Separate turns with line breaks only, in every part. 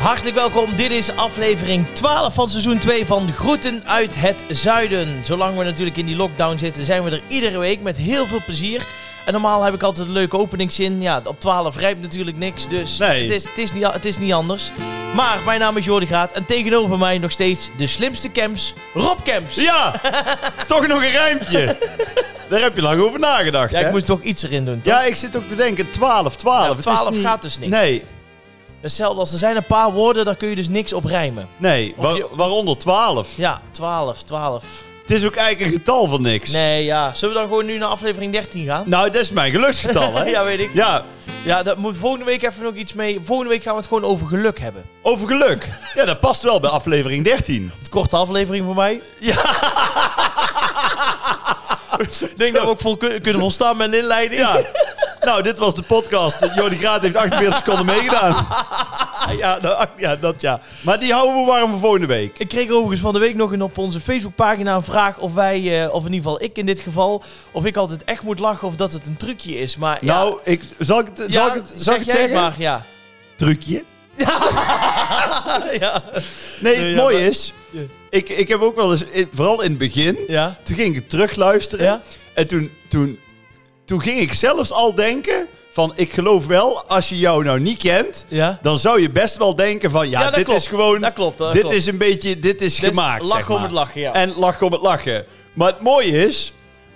Hartelijk welkom. Dit is aflevering 12 van seizoen 2 van Groeten uit het Zuiden. Zolang we natuurlijk in die lockdown zitten, zijn we er iedere week met heel veel plezier. En normaal heb ik altijd een leuke openingszin. Ja, op 12 rijpt natuurlijk niks, dus
Nee.
het, is, het, is niet, a- het is niet anders. Maar mijn naam is Jordi Graat en tegenover mij nog steeds de slimste camps, Rob Camps.
Ja, toch nog een rijmpje. Daar heb je lang over nagedacht.
Ja,
hè?
ik moest toch iets erin doen. toch?
ja, ik zit ook te denken, 12, 12.
Ja,
Het is
12
niet-
gaat dus niet.
Nee,
Hetzelfde als er zijn een paar woorden, daar kun je dus niks op rijmen.
nee,
Of
wa-
je-
waaronder 12.
Ja, 12, 12.
Het is ook eigenlijk een getal van niks.
Nee, ja. Zullen we dan gewoon nu naar aflevering 13 gaan?
Nou, dat is mijn geluksgetal, hè?
ja, weet ik.
Ja,
Ja, daar moet volgende week even nog iets mee. Volgende week gaan we het gewoon over geluk hebben.
over geluk. Ja, dat past wel bij aflevering 13.
Het korte aflevering voor mij. Ik denk dat we ook vol kun- kunnen volstaan met een inleiding.
Ja. Nou, dit was de podcast. Jordi Graat heeft 48 seconden meegedaan.
ja, dat, ja, dat ja.
Maar die houden we warm voor volgende week.
Ik kreeg overigens van de week nog een op onze Facebookpagina een vraag of wij, eh, of in ieder geval ik in dit geval, of ik altijd echt moet lachen of dat het een trucje is. Maar ja,
Nou, ik, zal ik het, zal
ja,
ik het, zal
zeg
ik het
jij
zeggen?
maar, ja.
Trucje.
ja.
Nee, het
Nee, Eh, ja,
mooie
maar-
is,
Ja.
ik, ik heb ook wel eens, in- vooral in het begin,
Ja.
toen ging ik het terugluisteren.
Ja.
En toen, toen, toen ging ik zelfs al denken van, ik geloof wel, als je jou nou niet kent,
Ja.
dan zou je best wel denken van, ja,
Ja, dat
dit
klopt.
is gewoon,
Dat klopt, dat
dit
klopt.
is een beetje, dit is
Dit is
gemaakt.
Lachen
zeg maar.
om het lachen, ja.
En lachen om het lachen. Maar het mooie is,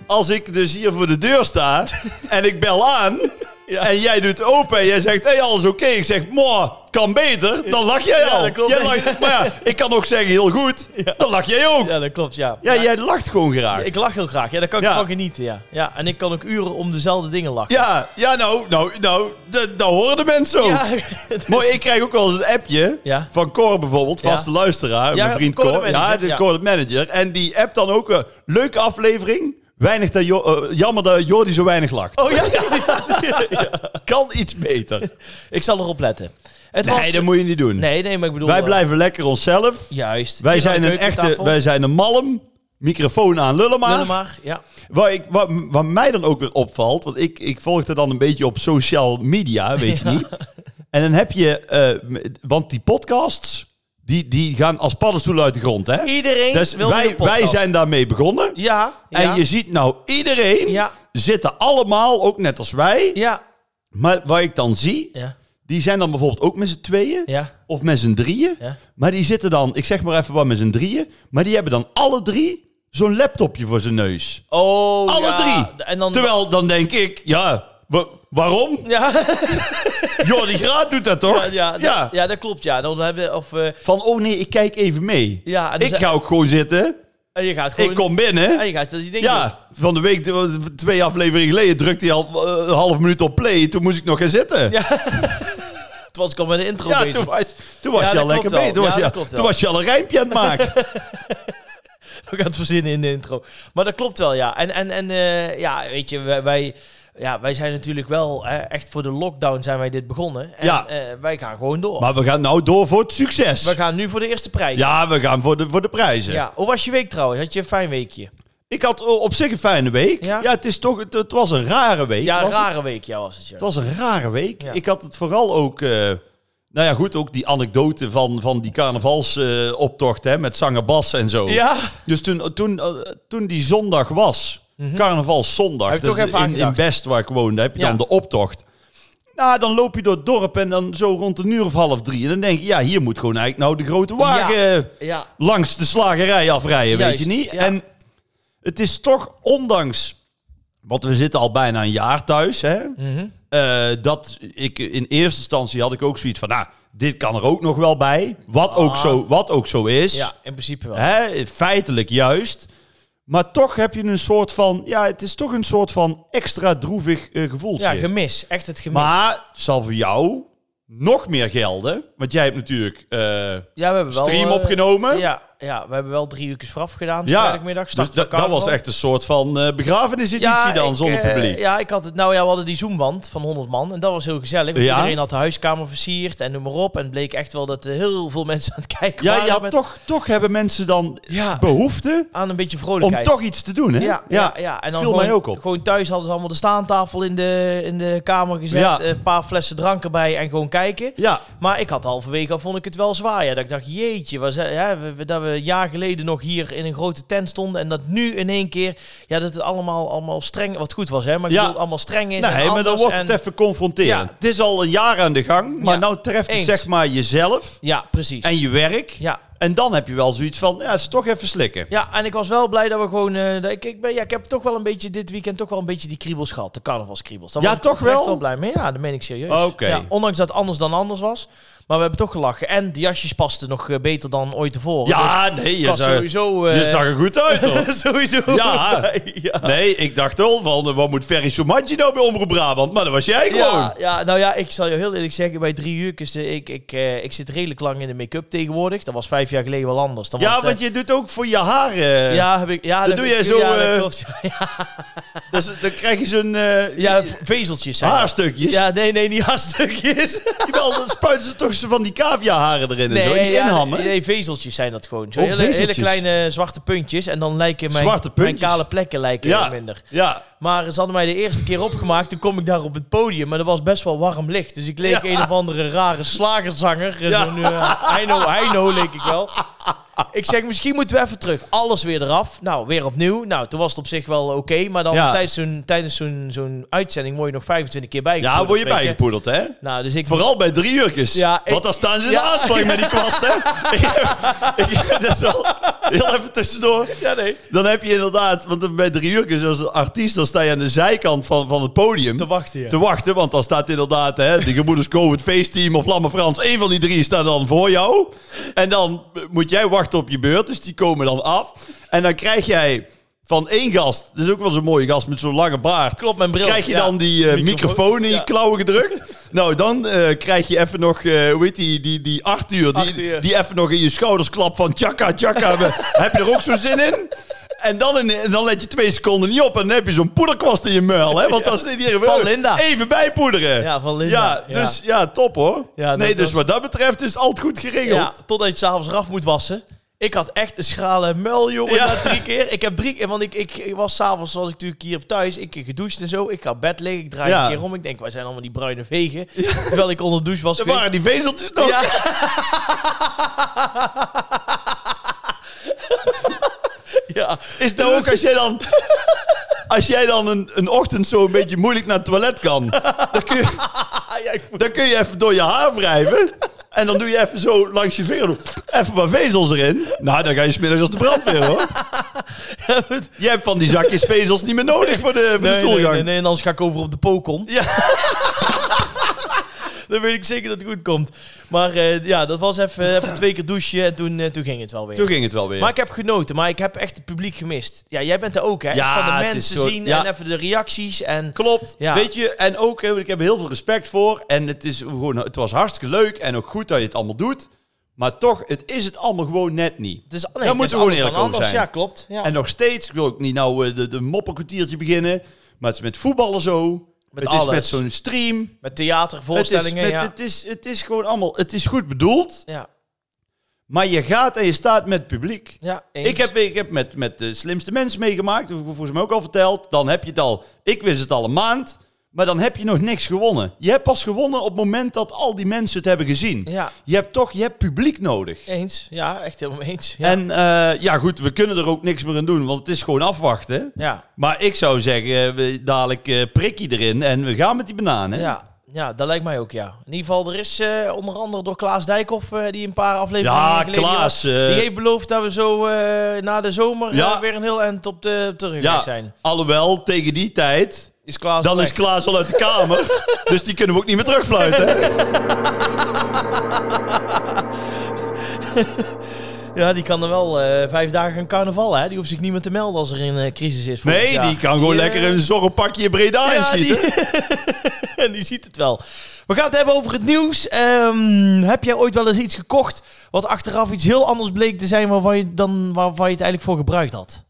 als ik dus hier voor de deur sta en ik bel aan... En jij doet open en jij zegt, hé, hey, alles oké. Ik zeg, moh, het kan beter. Dan lach jij
Ja,
al.
dat klopt.
Jij lacht- maar ja, ik kan ook zeggen, heel goed. Dan lach jij ook. Ja,
Ja, dat klopt, ja.
jij lacht gewoon graag.
Ik lach heel graag. Ja, daar kan ik
Ja.
van genieten, ja. ja. En ik kan ook uren om dezelfde dingen lachen.
Ja, ja, nou, nou, nou, d- dat horen de mensen ook.
Ja,
Mooi, ik krijg ook wel eens een appje
Ja.
van Cor bijvoorbeeld,
Ja.
vaste luisteraar,
Ja,
mijn vriend
Cor de
Cor.
manager,
ja, de
ja.
Cor de manager. En die app dan ook, eh, leuke aflevering, weinig dat Jo- eh, jammer dat Jordi zo weinig lacht.
Oh ja,
Kan iets beter.
ik zal erop letten. Het
Nee,
was...
dat moet je niet doen.
nee, nee, maar ik bedoel...
Wij
eh,
blijven lekker onszelf.
Juist.
Wij
Hier aan
zijn
de
een echte,
keukentafel.
wij zijn een malm. Microfoon aan Lullema.
Lullen maar, ja.
Waar, ik, waar, waar mij dan ook weer opvalt, want ik, ik volgde dan een beetje op social media, weet je niet. En dan heb je, eh, m- want die podcasts, die, die gaan als paddenstoelen uit de grond, hè?
Iedereen
Dus
wil nu
wij,
een podcast.
wij zijn daarmee begonnen.
Ja, ja.
En je ziet nou, iedereen
Ja.
zitten allemaal, ook net als wij.
Ja.
Maar wat ik dan zie,
Ja.
die zijn dan bijvoorbeeld ook met z'n tweeën.
Ja.
Of met z'n drieën.
Ja.
Maar die zitten dan, ik zeg maar even wat met z'n drieën. Maar die hebben dan alle drie zo'n laptopje voor zijn neus.
Oh,
Alle
ja.
drie.
En dan...
Terwijl dan denk ik, ja, wa- waarom?
Ja,
Jordi Graat doet dat toch?
ja, ja, ja. dat klopt, ja. Dan hebben we... Of, eh,
Van, oh nee, ik kijk even mee.
ja, en dan
ik
zijn-
ga ook gewoon zitten.
En je gaat gewoon...
Ik kom binnen.
En je gaat dat je dingen doen.
Ja, van de week, twee afleveringen geleden, drukte hij al eh, een half minuut op play. Toen moest ik nog gaan zitten.
Ja. Toen was ik al met de intro
Ja,
bezig.
toen was, toen was
Ja,
je
dat
al lekker
klopt wel.
mee. Toen,
Ja,
was je,
dat klopt
toen
wel.
was je al een rijmpje aan het maken.
We gaan het verzinnen in de intro. Maar dat klopt wel, ja. En, en, en eh, ja, weet je, wij, wij- ja, wij zijn natuurlijk wel hè, echt voor de lockdown zijn wij dit begonnen. En,
Ja.
eh, wij gaan gewoon door.
maar we gaan nou door voor het succes.
we gaan nu voor de eerste prijs.
ja, we gaan voor de, voor de prijzen.
Ja. Hoe was je week trouwens? Had je een fijn weekje?
Ik had o- op zich een fijne week.
Ja.
Ja, het, is toch, het, het was een rare week.
ja,
was
een
het?
rare week, ja, was het. Ja.
Het was een rare week.
Ja.
Ik had het vooral ook... eh, nou ja, goed, ook die anekdote van, van die carnavalsoptocht hè met zanger Bas en zo.
Ja.
Dus toen, toen, eh, toen die zondag was, carnavalszondag,
Mhm. Heb je
dat
toch
is
even
in, in
aangedacht?
Best waar ik woonde, heb je
Ja.
dan de optocht. Nou, dan loop je door het dorp en dan zo rond een uur of half drie. En dan denk je, ja, hier moet gewoon eigenlijk nou de grote wagen
ja.
langs de slagerij afrijden,
Juist,
weet je niet?
ja.
En het is toch ondanks, want we zitten al bijna een jaar thuis, hè?
Mhm.
eh, dat ik in eerste instantie had ik ook zoiets van, nou, dit kan er ook nog wel bij. Wat, ook,
Ah.
zo, wat ook zo is.
ja, in principe wel.
Hè, feitelijk juist. Maar toch heb je een soort van, ja, het is toch een soort van extra droevig eh, gevoeltje.
Ja, gemis. Echt het gemis.
maar het zal voor jou nog meer gelden, want jij hebt natuurlijk eh,
ja, we hebben wel,
stream
eh,
opgenomen.
Ja, ja, ja, we hebben wel drie uur vooraf gedaan.
Ja,
vrijdagmiddag.
Dus
Start
dat, dat was echt een soort van eh begrafeniseditie dan, zonder
eh,
publiek.
ja, ik had het. Nou ja, we hadden die Zoomwand van 100 man. En dat was heel gezellig. want
Ja.
Iedereen had de huiskamer versierd en noem maar op. En het bleek echt wel dat er heel veel mensen aan het kijken
Ja,
waren.
ja
met-
toch, toch hebben mensen dan
ja,
behoefte
aan een beetje
om
vrolijkheid.
toch iets te doen, hè?
Ja, ja, ja. En dan
viel
gewoon,
mij ook op.
gewoon thuis hadden ze allemaal de staantafel in de, in de kamer gezet. eh,
Ja.
Een paar flessen drank erbij en gewoon kijken.
Ja,
Maar ik had halverwege al vond ik het wel zwaar. Ja. Dat ik dacht, jeetje, was, ja, we, we- dat we een jaar geleden nog hier in een grote tent stonden. En dat nu in één keer, ja, dat het allemaal, allemaal streng, wat goed was hè. Maar ik
Ja.
bedoel, allemaal streng is en
nee, maar dan
anders
wordt
en-
het even confronterend.
Ja.
Het is al een jaar aan de gang, maar
Ja,
nou treft het
eens.
zeg maar jezelf
Ja, precies.
en je werk.
ja.
En dan heb je wel zoiets van, ja, het is toch even slikken.
ja, en ik was wel blij dat we gewoon... eh, dat ik, ik, ben, ja, ik heb toch wel een beetje dit weekend toch wel een beetje die kriebels gehad. De carnavalskriebels. Daar
Ja,
was ik
toch
echt
wel?
wel blij mee. Ja, dat meen ik serieus.
Oké.
Ja, ondanks dat het anders dan anders was. Maar we hebben toch gelachen. En de jasjes pasten nog eh, beter dan ooit tevoren. Dus
Ja, nee,
ik
je
was
zag,
sowieso... eh,
je zag er goed uit, hoor.
sowieso.
Ja.
blij, ja.
Nee, ik dacht al van, eh, wat moet Ferry Soumantje nou bij Omroep Brabant? Maar dat was jij gewoon.
Ja, ja, nou ja, ik zal je heel eerlijk zeggen, bij drie uur, is, eh, ik, ik, eh, ik zit redelijk lang in de make-up tegenwoordig. Dat was vijf jaar geleden wel anders. Dan
Ja,
was het, eh,
want je doet ook voor je haren.
ja, heb ik, ja,
dat doe
heb
jij
ik-
zo,
Ja, dat
eh,
klopt, ja.
Dus, dan krijg je zo'n eh,
Ja, v- vezeltjes
Ah,
zijn dat.
haarstukjes.
Ja, nee, nee, niet haarstukjes.
Jawel, dan spuiten ze toch zo van die caviaharen erin en zo. Die
ja,
inhammen.
nee, vezeltjes zijn dat gewoon. Zo
Oh,
hele, hele
vezeltjes.
kleine eh, zwarte puntjes. En dan lijken mijn,
Zwarte
mijn
puntjes.
kale plekken lijken
Ja.
heel minder.
Ja.
Maar ze hadden mij de eerste keer opgemaakt. Toen kom ik daar op het podium. Maar er was best wel warm licht. Dus ik leek
Ja.
een of andere rare slagerzanger. Eh,
Ja.
Zo'n eh, Heino, Heino leek ik wel. Ik zeg, misschien moeten we even terug. Alles weer eraf. Nou, weer opnieuw. Nou, toen was het op zich wel oké. maar dan
Ja.
tijdens zo'n tijdens zo'n zo'n uitzending word je nog 25 keer bijgepoederd.
ja, word je
weet
bijgepoedeld, hè?
Nou, dus ik
Vooral bij drie uurtjes.
Ja, ik-
Want dan staan ze in
Ja.
de aanslag met die kwast, hè? Ik- ik- dat is wel... Heel even tussendoor.
Ja, nee.
Dan heb je inderdaad... Want bij drie uurtjes als artiest... dan sta je aan de zijkant van, van het podium...
Te wachten, ja.
te wachten. Want dan staat inderdaad hè, de Gemoeders Covid Feestteam of Lamme Frans. Een van die drie staat dan voor jou. En dan moet jij wachten op je beurt. Dus die komen dan af. En dan krijg jij van één gast. Dat is ook wel zo'n mooie gast met zo'n lange baard.
Klopt, mijn bril.
Krijg je
Ja.
dan die eh,
Microfoon.
microfoon in je
Ja.
klauwen gedrukt? Nou, dan eh, krijg je even nog, eh hoe heet die, die, die Arthur, die,
Arthur.
die even nog in je schouders klapt van tjaka, tjaka. We- heb je er ook zo zin in? En dan, in, en dan let je twee seconden niet op en dan heb je zo'n poederkwast in je muil, hè? Want dan zit hier
Van Linda.
even bijpoederen.
Ja, van Linda,
Ja,
ja.
dus ja, top hoor.
Ja, dat
nee, dus
was-
wat dat betreft is altijd goed geregeld.
Ja, totdat je het s'avonds eraf moet wassen. Ik had echt een schrale muil, jongen,
Ja.
na drie keer. Ik heb drie keer, want ik, ik, ik was s'avonds, was ik natuurlijk hier op thuis, ik gedoucht en zo. Ik ga op bed liggen, ik draai
Ja.
een keer om. Ik denk, wij zijn allemaal die bruine vegen. Terwijl ik onder de douche was.
Er
geweest.
waren die vezeltjes nog.
Ja. ja.
Is het nou ook als jij dan... Als jij dan een, een ochtend zo een beetje moeilijk naar het toilet kan... Dan kun je,
Ah, ja, ik voel-
Dan kun je even door je haar wrijven. En dan doe je even zo langs je vinger. Even wat vezels erin. Nou, dan ga je smiddags als de brandweer hoor. Je hebt van die zakjes vezels niet meer nodig voor de, voor de
Nee, nee,
stoelgang.
nee, nee, en anders ga ik over op de pokon.
Ja.
Dan weet ik zeker dat het goed komt. Maar eh, ja, dat was even, even twee keer douchen en toen, eh, toen ging het wel weer.
Toen ging het wel weer.
Maar ik heb genoten, maar ik heb echt het publiek gemist. Ja, jij bent er ook, hè?
Ja,
Van de
het is
mensen
zo-
zien
ja.
en even de reacties. En
Klopt.
Ja.
Weet je, en ook, eh, ik heb er heel veel respect voor. En het, is gewoon, het was hartstikke leuk en ook goed dat je het allemaal doet. Maar toch, het is het allemaal gewoon net niet.
het is, nee,
moeten
het is
we
anders dan
gewoon eerlijk over
anders.
zijn.
Ja, klopt. Ja.
En nog steeds, ik wil ook niet nou eh, de, de moppenkwartiertje beginnen. Maar het is met voetballen zo.
Met
het is
alles.
met zo'n stream.
met theatervoorstellingen,
het is, met-
ja.
het, is, het is gewoon allemaal... Het is goed bedoeld,
ja.
maar je gaat en je staat met het publiek.
Ja, eens.
Ik heb, ik heb met, met de slimste mensen meegemaakt, dat heb ik volgens mij ook al verteld. Dan heb je het al... Ik wist het al een maand, maar dan heb je nog niks gewonnen. Je hebt pas gewonnen op het moment dat al die mensen het hebben gezien.
Ja,
Je hebt toch je hebt publiek nodig.
eens. Ja, echt helemaal eens. Ja.
En eh, ja goed, we kunnen er ook niks meer aan doen, want het is gewoon afwachten.
ja.
Maar ik zou zeggen, eh, we, dadelijk eh prikkie erin en we gaan met die bananen.
Ja. ja, dat lijkt mij ook, ja. In ieder geval, er is eh, onder andere door Klaas Dijkhoff, eh, die een paar afleveringen
Ja,
geleden hier was.
Klaas. eh,
Die heeft beloofd dat we zo eh, na de zomer
Ja.
eh, weer een heel eind op de op de terugweg zijn.
alhoewel tegen die tijd
Is Klaas
Dan
weg.
is Klaas al uit de kamer. dus die kunnen we ook niet meer terugfluiten.
Ja, die kan er wel eh, vijf dagen aan carnaval, hè? Die hoeft zich niet meer te melden als er een eh, crisis is. volgend
Nee,
jaar.
die kan gewoon
Die,
lekker
eh,
een zorgenpakje in Breda inschieten.
die, die ziet het wel. We gaan het hebben over het nieuws. Ehm, heb jij ooit wel eens iets gekocht wat achteraf iets heel anders bleek te zijn waarvan je, dan, waarvan je het eigenlijk voor gebruikt had?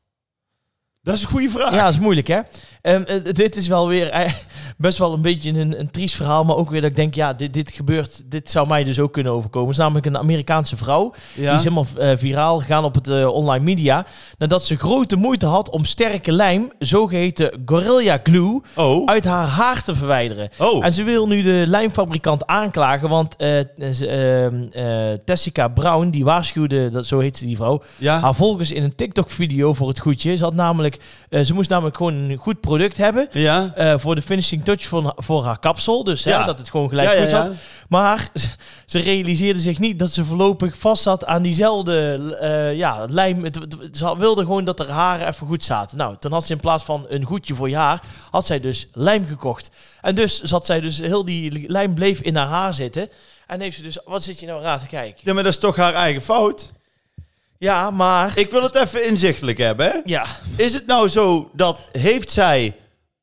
Dat is een goede vraag.
Ja, dat is moeilijk, hè? Ehm, eh, dit is wel weer eh, best wel een beetje een, een triest verhaal, maar ook weer dat ik denk, ja, dit, dit gebeurt, dit zou mij dus ook kunnen overkomen. Het is namelijk een Amerikaanse vrouw, die
Ja.
is helemaal eh, viraal gegaan op het eh, online media, nadat ze grote moeite had om sterke lijm, zogeheten Gorilla Glue,
Oh.
uit haar haar te verwijderen.
Oh.
En ze wil nu de lijmfabrikant aanklagen, want eh, ze- ehm, eh, Tessica Brown, die waarschuwde, dat, zo heet ze die vrouw,
Ja.
haar volgers in een TikTok-video voor het goedje. Ze, had namelijk, eh, ze moest namelijk gewoon een goed product hebben
Ja.
eh, voor de finishing touch van, voor haar kapsel. Dus hè,
Ja.
dat het gewoon gelijk
Ja, ja,
goed zat.
ja.
Maar ze, ze realiseerde zich niet dat ze voorlopig vast zat aan diezelfde eh, ja, lijm. Het- het- Ze wilde gewoon dat haar haren even goed zaten. Nou, toen had ze in plaats van een goedje voor je haar, had zij dus lijm gekocht. En dus zat zij dus, heel die lijm bleef in haar haar zitten. En heeft ze dus, wat zit je nou raar te kijken?
Ja, maar dat is toch haar eigen fout?
Ja, maar...
Ik wil het even inzichtelijk hebben. hè.
Ja,
Is het nou zo dat heeft zij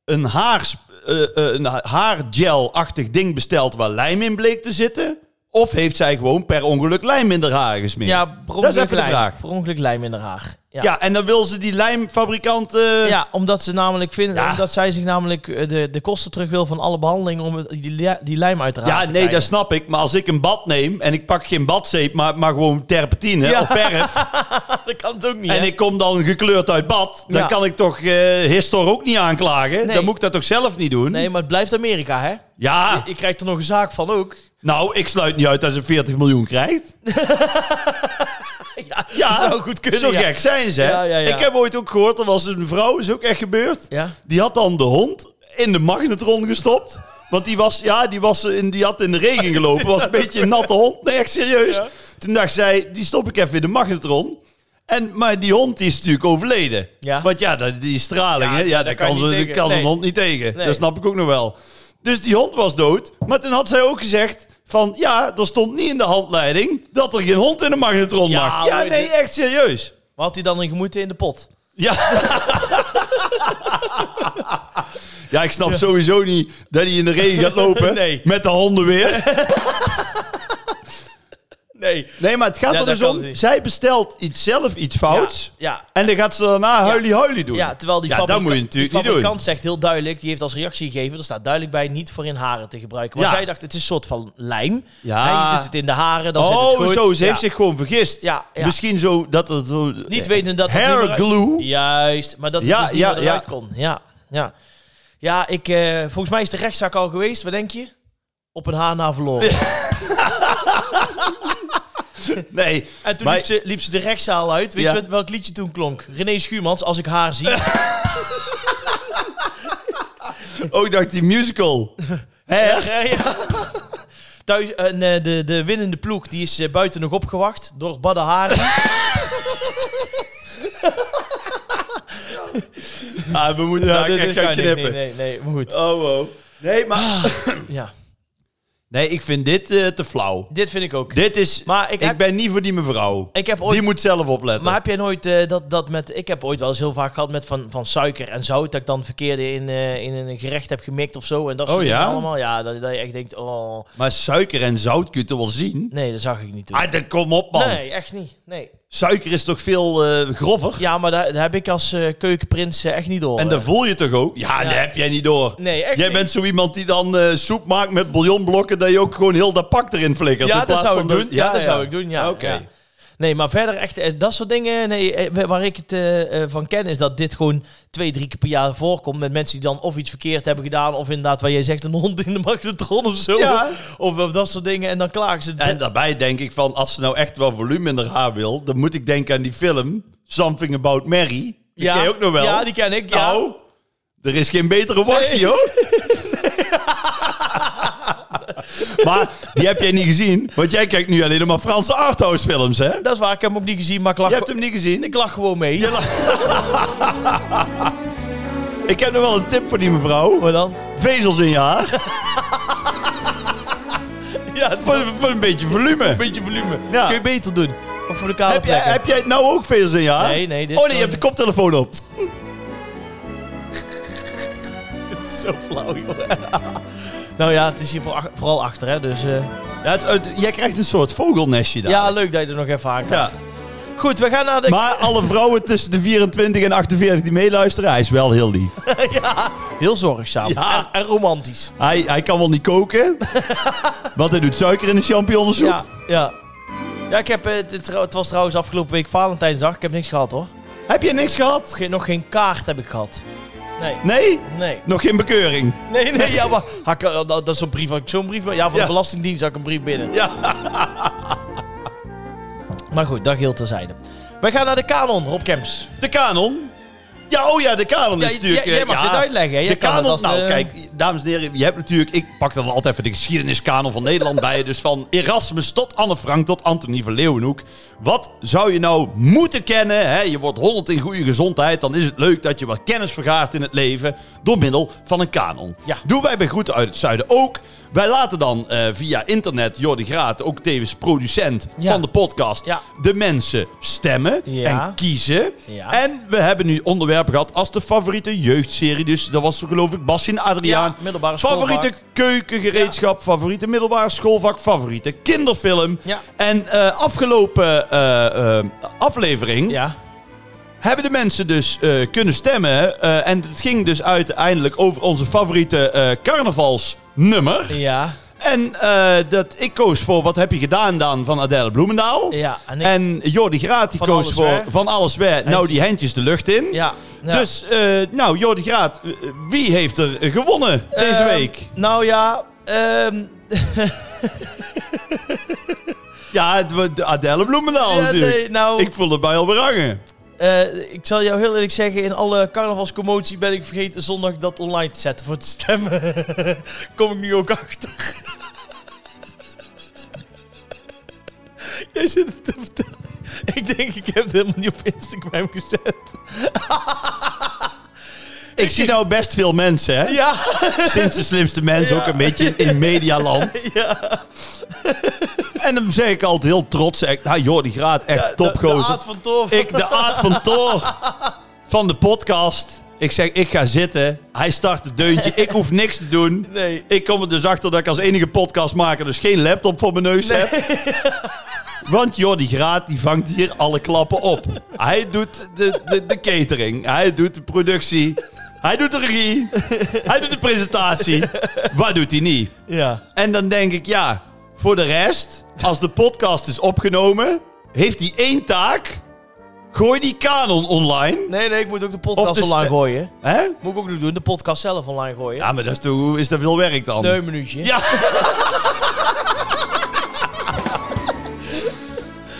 een, haarsp- eh, eh, een haargel-achtig ding besteld waar lijm in bleek te zitten? Of heeft zij gewoon per ongeluk lijm in haar haar gesmeerd?
ja per ongeluk
even de
lijm.
vraag.
Per ongeluk lijm in haar haar. Ja.
Ja,
Ja.
en dan wil ze die lijmfabrikant... eh,
omdat ze namelijk vinden,
Ja.
omdat zij zich namelijk eh, de, de kosten terug wil van alle behandelingen om het- die, li- die lijm uit te halen.
Ja, nee, dat snap ik. Maar als ik een bad neem en ik pak geen badzeep, maar, maar gewoon terpentine
Ja.
of verf...
dat kan het ook niet.
en ik kom dan gekleurd uit bad... dan
Ja.
kan ik toch eh Histor ook niet aanklagen?
Nee.
Dan moet ik dat toch zelf niet doen?
Nee, maar het blijft Amerika, hè?
Ja,
Hm? Ik krijg er nog een zaak van ook.
nou, ik sluit niet uit dat ze 40 miljoen krijgt.
Ja,
Ja,
dat zou goed kunnen.
Zo
ja.
gek zijn ze. hè?
Ja, ja, ja.
Ik heb ooit ook gehoord, er was een vrouw, is ook echt gebeurd.
Ja.
Die had dan de hond in de magnetron gestopt. Want die, was, ja, die, was in, die had in de regen gelopen. Was een beetje een natte hond. Nee, echt serieus.
Ja.
Toen dacht zij, die stop ik even in de magnetron. En, maar die hond die is natuurlijk overleden.
Ja.
Want ja, dat, die straling,
Ja,
hè, ja, daar
daar kan je
kan, ze,
niet
daar
tegen.
kan zo'n
Nee.
hond niet tegen.
Nee.
Dat snap ik ook nog wel. Dus die hond was dood. Maar toen had zij ook gezegd van... Ja, er stond niet in de handleiding dat er geen hond in de magnetron
Ja,
mag. Ja,
hoor,
nee,
dit-
echt serieus.
Wat had hij dan in gemoeten in de pot?
Ja. ja, ik snap sowieso niet dat hij in de regen gaat lopen
Nee.
met de honden weer.
Nee.
Nee, maar het gaat
Ja,
er
dat
dus
kan
om.
niet.
Zij bestelt iets, zelf iets fouts.
Ja.
En dan gaat ze daarna huilie-huilie doen.
Ja, terwijl die,
ja, dat
fabrika-
moet je natuurlijk
die
niet
fabrikant
doen.
zegt heel duidelijk, die heeft als reactie gegeven, er staat duidelijk bij, niet voor in haren te gebruiken. Maar
Ja.
zij dacht, het is een soort van lijm.
Ja.
Hè, je doet het in de haren, dan zit het
Oh,
goed.
zo. Ze
Ja.
heeft zich gewoon vergist.
Ja, ja.
Misschien zo dat het zo...
Niet weten dat het niet
Hair
meer-
glue.
Juist, maar dat het
Ja,
dus niet
ja,
meer eruit
ja.
kon. Ja, ja. Ja, ik, eh, volgens mij is de rechtszaak al geweest. Wat denk je? Op een haar na verloren.
Nee.
En toen
Maar-
liep, ze, liep ze de rechtszaal uit. Weet
Ja.
je wat, welk liedje toen klonk? René Schuurmans, Als ik haar zie.
Ook dacht die musical. Hair.
Ja, ja. Thuis, en, eh, de, de winnende ploeg die is eh, buiten nog opgewacht door Badde Haren.
Ah, we moeten daar
dit-
echt
dit
gaan
Nou, kan niet. Ah.
knippen.
Nee, nee, nee, maar goed.
Oh, wow. Nee, maar...
Ja.
Nee, ik vind dit eh, te flauw.
Dit vind ik ook.
Dit is...
Maar ik
ik
heb-
ben niet voor die mevrouw.
Ik heb ooit
Die moet zelf opletten.
Maar heb jij nooit eh, dat, dat met... Ik heb ooit wel eens heel vaak gehad met van, van suiker en zout... dat ik dan verkeerde in, eh, in een gerecht heb gemikt of zo. En dat
Oh,
soort dingen
ja?
allemaal. Ja, dat, dat je echt denkt... Oh,
Maar suiker en zout kun je toch wel zien?
nee, dat zag ik niet doen.
Ah, dan kom op, man.
Nee, echt niet. Nee.
Suiker is toch veel eh, grover?
Ja, maar daar, daar heb ik als eh, keukenprins eh, echt niet door.
En dat
eh.
voel je toch ook? Ja,
Ja.
dat heb jij niet door.
Nee, echt
jij
niet.
bent zo iemand die dan eh, soep maakt met bouillonblokken... dat je ook gewoon heel dat pak erin flikkert.
Ja,
in
dat
plaats
zou ik
van de-
doen. Ja, dat zou ik doen, ja.
Oké.
Ja. Nee, maar verder echt, eh, dat soort dingen, nee, eh, waar ik het eh, eh, van ken, is dat dit gewoon twee, drie keer per jaar voorkomt met mensen die dan of iets verkeerd hebben gedaan, of inderdaad, waar jij zegt, een hond in de magnetron of zo.
Ja.
Of, of dat soort dingen, en dan klagen ze. het.
En daarbij denk ik van, als ze nou echt wel volume in haar haar wil... dan moet ik denken aan die film Something About Mary. Die ken je ook nog wel.
Ja, die ken ik, ja.
Nou, er is geen betere wassie,
Nee.
hoor. maar die heb jij niet gezien, want jij kijkt nu alleen nog maar Franse arthouse films, hè?
Dat is waar, ik heb hem ook niet gezien, maar ik lach,
Je hebt hem niet gezien.
ik lach gewoon mee.
Je la- Ik heb nog wel een tip voor die mevrouw.
Maar dan?
Vezels in je haar.
Ja,
voor, voor een beetje volume.
beetje volume.
Ja.
Kun je beter doen. grappig voor de kale
Heb jij,
plekken.
heb jij het nou ook veel zin, ja?
Nee, nee, dit is
oh nee,
gewoon-
je hebt de koptelefoon op.
Het is zo flauw, joh. nou ja, het is hier voor ach- vooral achter, hè. Dus eh,
Ja, het, is uit- jij krijgt een soort vogelnestje daar.
ja, leuk dat je er nog even aan kan.
Ja.
Goed, we gaan naar de...
Maar alle vrouwen tussen de 24 en 48 die meeluisteren, hij is wel heel lief.
Heel zorgzaam.
Ja.
En, en romantisch.
Hij, hij kan wel niet koken, want hij doet suiker in de champignonsoep.
Ja, ja. Ja, ik heb, eh, het, het- het was trouwens afgelopen week Valentijnsdag. Ik heb niks gehad, hoor.
Heb je niks gehad?
Geen- nog geen kaart heb ik gehad. Nee.
Nee?
Nee.
Nog geen bekeuring?
Nee, nee, ja, maar... Had ik, eh, dat, dat is zo'n brief, had ik zo'n brief... Ja, van
Ja.
de Belastingdienst had ik een brief binnen.
Ja.
Maar goed, dat geheel terzijde. Wij gaan naar de kanon, Rob Kemps.
De kanon? Ja, oh ja, de kanon
Ja,
is
j-
natuurlijk...
j-
eh,
jij mag
ja.
dit uitleggen, hè? Jij
De
kan dat
kanon,
als eh, de-
nou kijk, dames en heren, je hebt natuurlijk... Ik pak dan altijd even de geschiedeniskanon van Nederland bij je. Dus van Erasmus tot Anne Frank tot Antonie van Leeuwenhoek. Wat zou je nou moeten kennen? Hè? Je wordt 100 in goede gezondheid. Dan is het leuk dat je wat kennis vergaart in het leven door middel van een kanon.
Ja.
Doen wij bij Groeten uit het Zuiden ook. Wij laten dan eh, via internet Jordi Graat, ook tevens producent
Ja.
van de podcast,
Ja.
de mensen stemmen
Ja.
en kiezen.
Ja.
En we hebben nu onderwerpen gehad als de favoriete jeugdserie. Dus dat was geloof ik Bas en Adriaan.
Ja, middelbare
favoriete
schoolvak.
keukengereedschap, favoriete middelbare schoolvak, favoriete kinderfilm.
Ja.
En eh, afgelopen eh, eh, aflevering
Ja.
hebben de mensen dus eh, kunnen stemmen. eh, en het ging dus uiteindelijk over onze favoriete eh, carnavalsnummer.
Ja.
En eh, dat, ik koos voor Wat heb je gedaan dan van Adèle Bloemendaal.
Ja. En ik...
En Jordi Graat die
Van
koos
alles
voor
weg.
Van alles weg. Nou, die handjes de lucht in.
ja. ja.
Dus, eh, nou, Jordi Graat, eh, wie heeft er eh, gewonnen deze
Ehm,
week?
Nou ja, ehm,
Ja, het wa- de Adèle Bloemendaal
ja,
Oh, natuurlijk.
nee, nou,
Ik voel het bij al berangen.
eh, ik zal jou heel eerlijk zeggen, in alle carnavalscommotie ben ik vergeten zondag dat online te zetten voor te stemmen. Kom ik nu ook achter. Jij zit het te vertellen. Ik denk, ik heb het helemaal niet op Instagram gezet.
Ik zie nou best veel mensen, hè?
Ja,
Sinds de slimste mens
Ja.
ook een beetje in medialand.
ja.
En dan zeg ik altijd heel trots, zeg ik, nou Jordi Graat, echt
De
topgozer.
Aad van Torf.
Ik, de aard van Toor van de podcast. Ik zeg, ik ga zitten. Hij start het deuntje. Ik hoef niks te doen.
Nee.
Ik kom er dus achter dat ik als enige podcastmaker dus geen laptop voor mijn neus heb. Want Jordi Graat die vangt hier alle klappen op. Hij doet de, de, de catering. Hij doet de productie. Hij doet de regie. Hij doet de presentatie. Wat doet hij niet?
Ja.
En dan denk ik, ja, voor de rest, als de podcast is opgenomen, heeft hij één taak. Gooi die kanon online.
Nee, nee, ik moet ook de
Of
podcast
de
online
ste-
gooien.
Hè?
Moet ik ook nog doen, de podcast zelf online gooien.
Ja, maar dat is, toch, hoe is dat veel werk dan?
Nee, een minuutje.
Ja.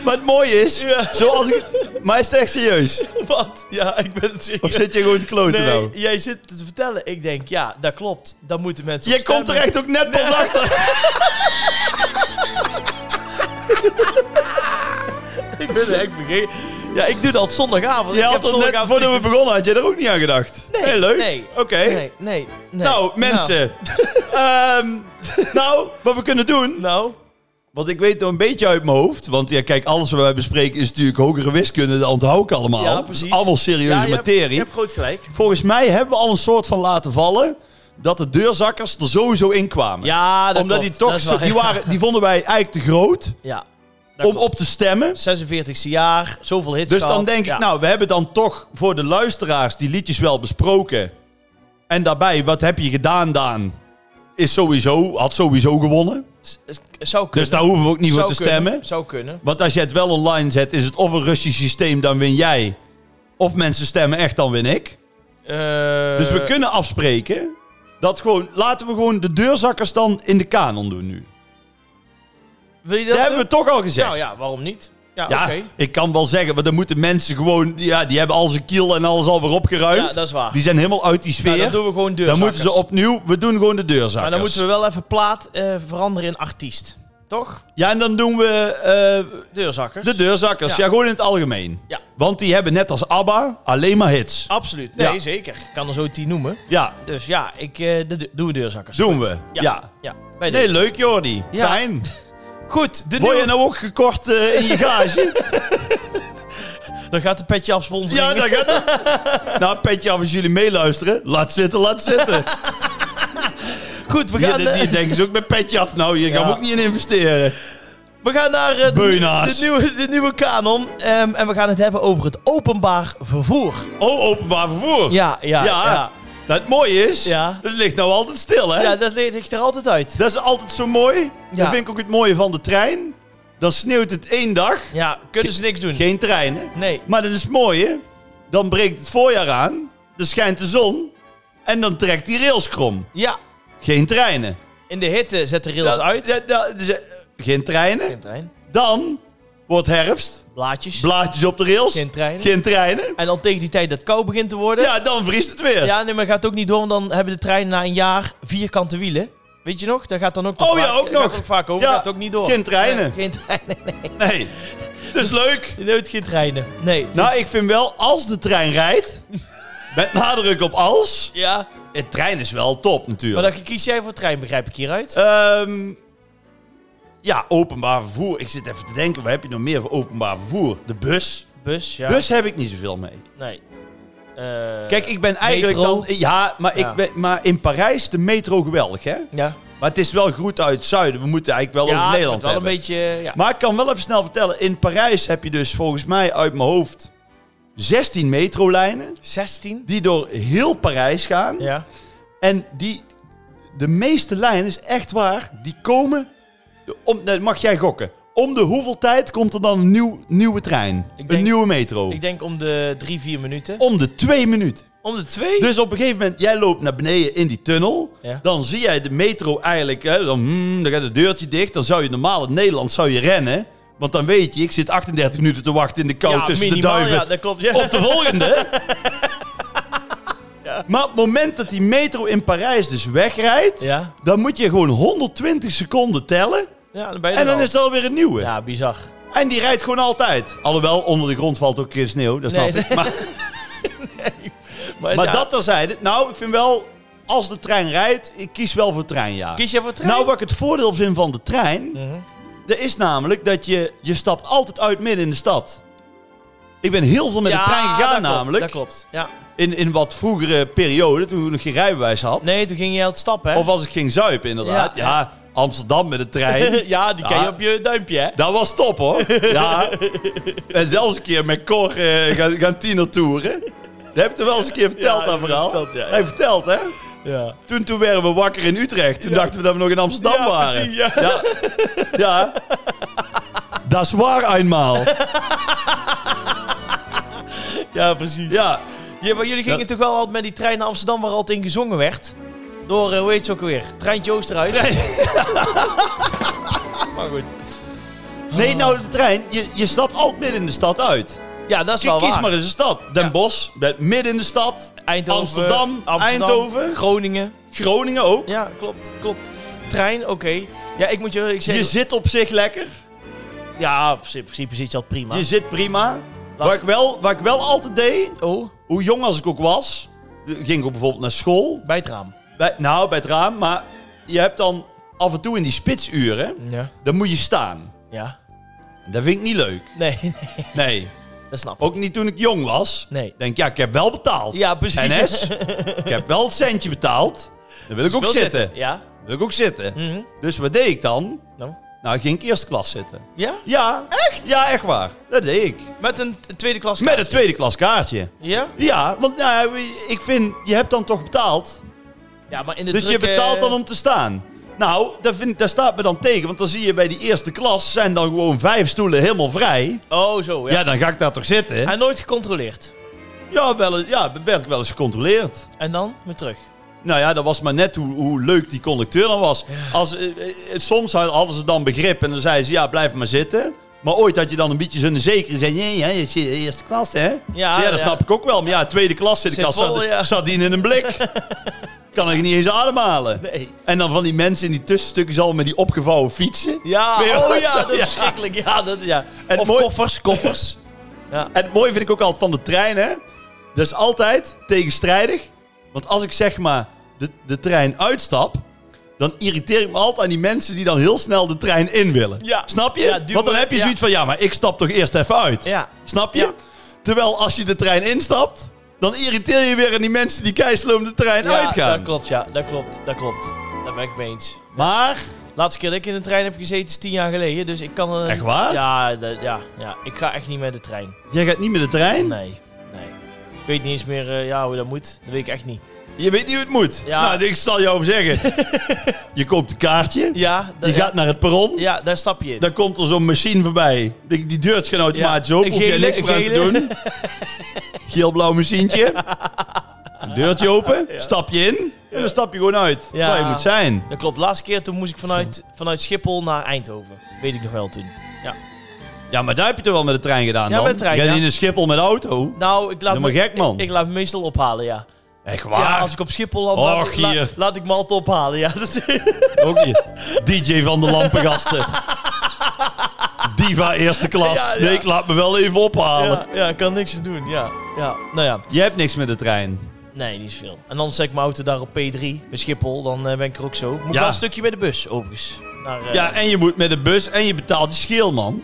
maar het mooie is,
Ja.
zoals ik... Maar is het echt serieus?
Wat? Ja, ik ben het
Of
serieus.
zit je gewoon te kloten
nee,
nou?
jij zit het te vertellen. Ik denk, ja, dat klopt. Dan moeten mensen op
Je komt er
stemmen.
echt ook net pas achter.
Ik ben er echt vergeten. Ja, ik doe dat zondagavond.
Je
ik
had er net,
zondagavond
voordat we
niet-
begonnen, had je er ook niet aan gedacht.
Nee,
Heel leuk.
nee,
Oké.
Nee, nee, nee.
Nou, mensen. Ehm, nou, wat we kunnen doen.
Nou,
Want ik weet nog een beetje uit mijn hoofd. Want ja, kijk, alles wat wij bespreken is natuurlijk hogere wiskunde. Dat onthoud ik allemaal.
Ja,
Het is
precies.
allemaal serieuze
ja, je hebt-
materie.
Je hebt groot gelijk.
Volgens mij hebben we al een soort van laten vallen. Dat de deurzakkers er sowieso in kwamen.
Ja, dat
Omdat
klopt.
die toch.
Dat is
zo-
waar,
die,
ja.
waren, die vonden wij eigenlijk te groot.
Ja. Dat
Om
klopt.
op te stemmen.
46e jaar, zoveel hits
Dus dan
gehad.
denk ik,
Ja.
nou, we hebben dan toch voor de luisteraars die liedjes wel besproken. En daarbij, wat heb je gedaan, Daan? Is sowieso, had sowieso gewonnen.
S- s- Zou kunnen.
Dus daar hoeven we ook niet voor
Zou
te
kunnen,
stemmen.
Zou kunnen.
Want als je het wel online zet, is het of een Russisch systeem, dan win jij. Of mensen stemmen echt, dan win ik.
Eh,
Dus we kunnen afspreken dat gewoon... Laten we gewoon de deurzakkers dan in de kanon doen nu.
Wil je dat
Dat hebben we
doen?
toch al gezegd.
Nou ja, waarom niet? Ja,
Ja,
oké.
ik kan wel zeggen, maar dan moeten mensen gewoon... Ja, die hebben al zijn kiel en alles alweer
Ja,
opgeruimd.
dat is waar.
die zijn helemaal uit die
Nou,
sfeer.
dan doen we gewoon
dan
deurzakkers.
moeten ze opnieuw... We doen gewoon de deurzakkers.
Maar dan moeten we wel even plaat eh, veranderen in artiest. Toch?
Ja, en dan doen we eh,
Deurzakkers.
de deurzakkers. Ja.
Ja.
gewoon in het algemeen.
Ja.
Want die hebben net als ABBA alleen maar hits.
Absoluut. Nee,
Ja.
zeker. Ik kan er zo tien noemen.
Ja,
Dus ja, ik, eh, de, de- doen we deurzakkers.
Doen
Goed.
we. Ja.
Ja, bij
Nee,
deze.
leuk Jordi.
Ja.
Fijn.
Goed, de
Word je
nieuwe...
nou ook gekort eh, in je gage?
Dan gaat de petje af sponsoring.
ja, dat gaat het. Nou, petje af als jullie meeluisteren. Laat zitten, laat zitten.
Goed, we
Ja,
gaan,
die,
eh,
die denken ze ook met petje af. Nou, hier gaan
Ja.
we ook niet in investeren.
we gaan naar eh, de,
Beunaars.
de nieuwe, de nieuwe kanon. Ehm, en we gaan het hebben over het openbaar vervoer.
Oh, openbaar vervoer.
Ja, ja, ja.
Ja.
ja.
Nou, het mooie is,
Ja.
het ligt nou altijd stil, hè?
dat ligt er altijd uit.
Dat is altijd zo mooi.
Ja.
Dat vind ik ook het mooie van de trein. Dan sneeuwt het één dag.
Ja, kunnen ze niks doen.
Geen trein, hè?
Nee.
Maar dat is het mooie. Dan breekt het voorjaar aan. Dan schijnt de zon. En dan trekt die rails krom.
Ja,
Geen treinen.
in de hitte zet de rails
Da-
uit.
da- da- dus, eh, geen treinen.
Geen trein.
Dan wordt herfst.
Blaadjes.
Blaadjes op de rails.
Geen treinen.
Geen treinen.
en dan tegen die tijd dat het koud begint te worden.
Ja, dan vriest het weer.
Ja, nee, maar gaat ook niet door, want dan hebben de treinen na een jaar vierkante wielen. Weet je nog? Daar gaat dan ook nog
Oh ja,
vaak,
ook
gaat
nog.
ook vaak over.
Ja,
Gaat ook niet door.
geen treinen.
Nee, geen treinen, nee.
Nee. Dus leuk.
Nooit geen treinen. Nee. dus-
Nou, ik vind wel, als de trein rijdt. met nadruk op als.
Ja,
Het trein is wel top
maar
natuurlijk.
dan kies jij voor trein, begrijp ik hieruit.
Ehm, ja, openbaar vervoer. Ik zit even te denken, waar heb je nog meer voor openbaar vervoer? De bus.
Bus, ja.
Bus heb ik niet zoveel mee.
Nee. Eh,
Kijk, ik ben eigenlijk
metro.
dan... Ja, maar,
Ja.
Ik ben, maar in Parijs de metro geweldig, hè?
Ja,
Maar het is wel goed uit het zuiden. We moeten eigenlijk wel
ja
over Nederland
wel
hebben.
een beetje... Ja.
Maar ik kan wel even snel vertellen. In Parijs heb je dus volgens mij uit mijn hoofd 16 metrolijnen.
16?
Die door heel Parijs gaan.
Ja.
En die, de meeste lijnen is echt waar, die komen. Om, nee, mag jij gokken? Om de hoeveel tijd komt er dan een nieuw, nieuwe trein?
Ik denk-
een nieuwe metro?
Ik denk om de drie, vier minuten.
Om de twee minuten.
Om de twee?
Dus op een gegeven moment, jij loopt naar beneden in die tunnel.
Ja.
Dan zie jij de metro eigenlijk. Hè, dan, hmm, dan gaat het deurtje dicht. Dan zou je normaal in Nederland zou je rennen. Want dan weet je, ik zit 38 minuten te wachten in de kou
ja,
tussen
minimaal,
de duiven
Ja, dat klopt. Ja.
op de volgende. Maar op het moment dat die metro in Parijs dus wegrijdt,
Ja.
dan moet je gewoon 120 seconden tellen.
ja, dan ben je
En
er
dan
al.
is er alweer een nieuwe.
Ja, bizar.
En die rijdt gewoon altijd. Alhoewel, onder de grond valt ook een keer sneeuw, dat snap
Nee,
ik. Maar, maar
ja,
dat terzijde. Nou, ik vind wel, als de trein rijdt, ik kies wel voor trein, ja.
Kies jij voor trein?
Nou, wat ik het voordeel vind van de trein,
Mhm.
dat is namelijk dat je, je stapt altijd uit midden in de stad. Ik ben heel veel met
Ja,
de trein
dat
gegaan
klopt,
namelijk.
Dat klopt, ja.
In, in wat vroegere periode, toen ik nog geen rijbewijs had.
Nee, toen ging je aan het stappen, hè?
Of als ik ging zuipen, inderdaad.
Ja.
Ja, Amsterdam met de trein.
ja, die ken je
Ja.
op je duimpje, hè?
Dat was top, hoor. Ja. En zelfs een keer met Cor eh, gaan, gaan tienertoeren. Dat heb je toch wel eens een keer verteld,
Ja,
dat
dat
verhaal?
verteld, ja, ja.
Hij verteld, hè?
Ja.
Toen, toen werden we wakker in Utrecht. Toen dachten we dat we nog in Amsterdam
Ja,
waren.
precies, ja.
ja. Ja. Dat is waar, eenmaal.
Ja, precies.
Ja.
Ja, maar jullie gingen
Dat-
toch wel altijd met die trein naar Amsterdam waar altijd in gezongen werd? Door, eh, hoe heet ze ook alweer? Treintje Oosterhuis. maar goed.
Nee, nou, de trein. Je, je stapt altijd midden in de stad uit.
Ja, dat is
Kies
wel waar.
maar eens een stad. Den
Ja.
Bosch, bent midden in de stad.
Eindhoven,
Amsterdam, Eindhoven.
Groningen.
Groningen ook.
Ja, klopt, klopt. Trein, oké. Ja, ik moet je ik
Je
zeggen...
zit op zich lekker.
ja, in principe zit je al prima.
Je zit prima. Wat
Laatst-
ik, wel, wat ik wel altijd deed,
Oh,
hoe jong als ik ook was, ging ik ook bijvoorbeeld naar school.
bij het raam.
Bij, nou, bij het raam, maar je hebt dan af en toe in die spitsuren,
Ja.
dan moet je staan.
Ja.
Dat vind ik niet leuk.
Nee, nee,
Nee,
dat snap ik.
ook niet toen ik jong was.
Nee.
Denk, ja, ik heb wel betaald.
Ja, precies. Dus
NS, ik heb wel het centje betaald. Dan wil ik ook
Wil
zitten.
Ja.
Wil ik ook zitten.
Mhm.
Dus wat deed ik dan?
Nou.
Nou, ging ik eerste klas zitten.
Ja?
Ja. Echt? Ja, echt waar. Dat deed ik.
Met een t- tweede klas
Met een tweede klas kaartje.
Ja?
Ja, want nou, ik vind, je hebt dan toch betaald.
Ja, maar in de
Dus je
drukke-
betaalt dan om te staan. Nou, dat, vind, dat staat me dan tegen, want dan zie je bij die eerste klas zijn dan gewoon vijf stoelen helemaal vrij.
Oh, zo,
Ja,
ja.
dan ga ik daar toch zitten.
En nooit gecontroleerd.
Ja, wel, eens- ja, werd ik wel eens gecontroleerd.
En dan weer terug.
Nou ja, dat was maar net hoe, hoe leuk die conducteur dan was. Als, eh, eh, soms hadden ze dan begrip en dan zeiden ze, ja, blijf maar zitten. Maar ooit had je dan een beetje zo'n zekere zei, ja, ja, je zit in de eerste klas, hè?
Ja,
Ja, ja, dat
ja.
snap ik ook wel. Maar ja, tweede klas zit ik
Zit
al
vol,
sard-
ja.
sardine in een blik. kan ik niet eens ademhalen.
Nee.
En dan van die mensen in die tussenstukken zal met die opgevouwen fietsen.
Ja,
Twee
oh
honderd
ja,
zo,
dat is
ja.
verschrikkelijk. Ja, dat, ja.
En
of
mooi-
koffers, koffers.
En het mooie vind ik ook altijd van de trein, hè. Dat is altijd tegenstrijdig. Want als ik zeg maar de, de trein uitstap, dan irriteer ik me altijd aan die mensen die dan heel snel de trein in willen.
Ja.
Snap je?
Ja, duwen,
Want dan heb je
ja.
zoiets van, ja, maar ik stap toch eerst even uit.
Ja.
Snap je?
Ja.
Terwijl als je de trein instapt, dan irriteer je weer aan die mensen die keisloom de trein
Ja,
uitgaan.
dat klopt, ja. Dat klopt, dat klopt. Daar ben ik mee eens.
Maar,
Laatste keer dat ik in de trein heb gezeten is tien jaar geleden, dus ik kan... eh,
Echt waar?
Ja, dat- ja, ja, ik ga echt niet met de trein.
jij gaat niet met de trein?
Nee, nee. Ik weet niet eens meer eh, ja, hoe dat moet. Dat weet ik echt niet.
Je weet niet hoe het moet.
Ja.
Nou, ik zal jou zeggen. je koopt een kaartje,
Ja, dat-
je gaat naar het perron,
ja daar stap je in.
dan komt er zo'n machine voorbij. Die, die deurt gaan automatisch
Ja,
open,
een
hoef je
gele,
niks meer aan te
gele.
doen. Geel-blauw machientje. Een deurtje open, stap je in en dan stap je gewoon uit.
Ja.
Waar je moet zijn.
Dat klopt. Laatste keer toen moest ik vanuit, vanuit Schiphol naar Eindhoven. Weet ik nog wel toen. Ja.
Ja, maar daar heb je toch wel met de trein gedaan
Ja,
dan?
met de trein,
Je gaat
ja.
in een Schiphol met de auto.
Nou, ik laat
Dat maar
me-
gek, man.
Ik, ik laat me meestal ophalen, ja.
Echt
Ja,
waar?
als ik op Schiphol land,
Och,
laat, ik- la-
hier.
laat ik me altijd ophalen, ja. Dus, Dat is-
Ook je. DJ van de Lampengasten. Diva eerste klas.
Ja, ja.
Nee, ik laat me wel even ophalen.
ja, ja, ik kan niks aan doen, ja. ja. Nou ja,
Je hebt niks met de trein.
nee, niet zoveel. En dan zet ik mijn auto daar op P3, bij Schiphol, dan eh, ben ik er ook zo. Moet ik
Ja.
wel een stukje bij de bus, overigens. Naar, eh,
Ja, en je moet met de bus en je betaalt je scheel, man.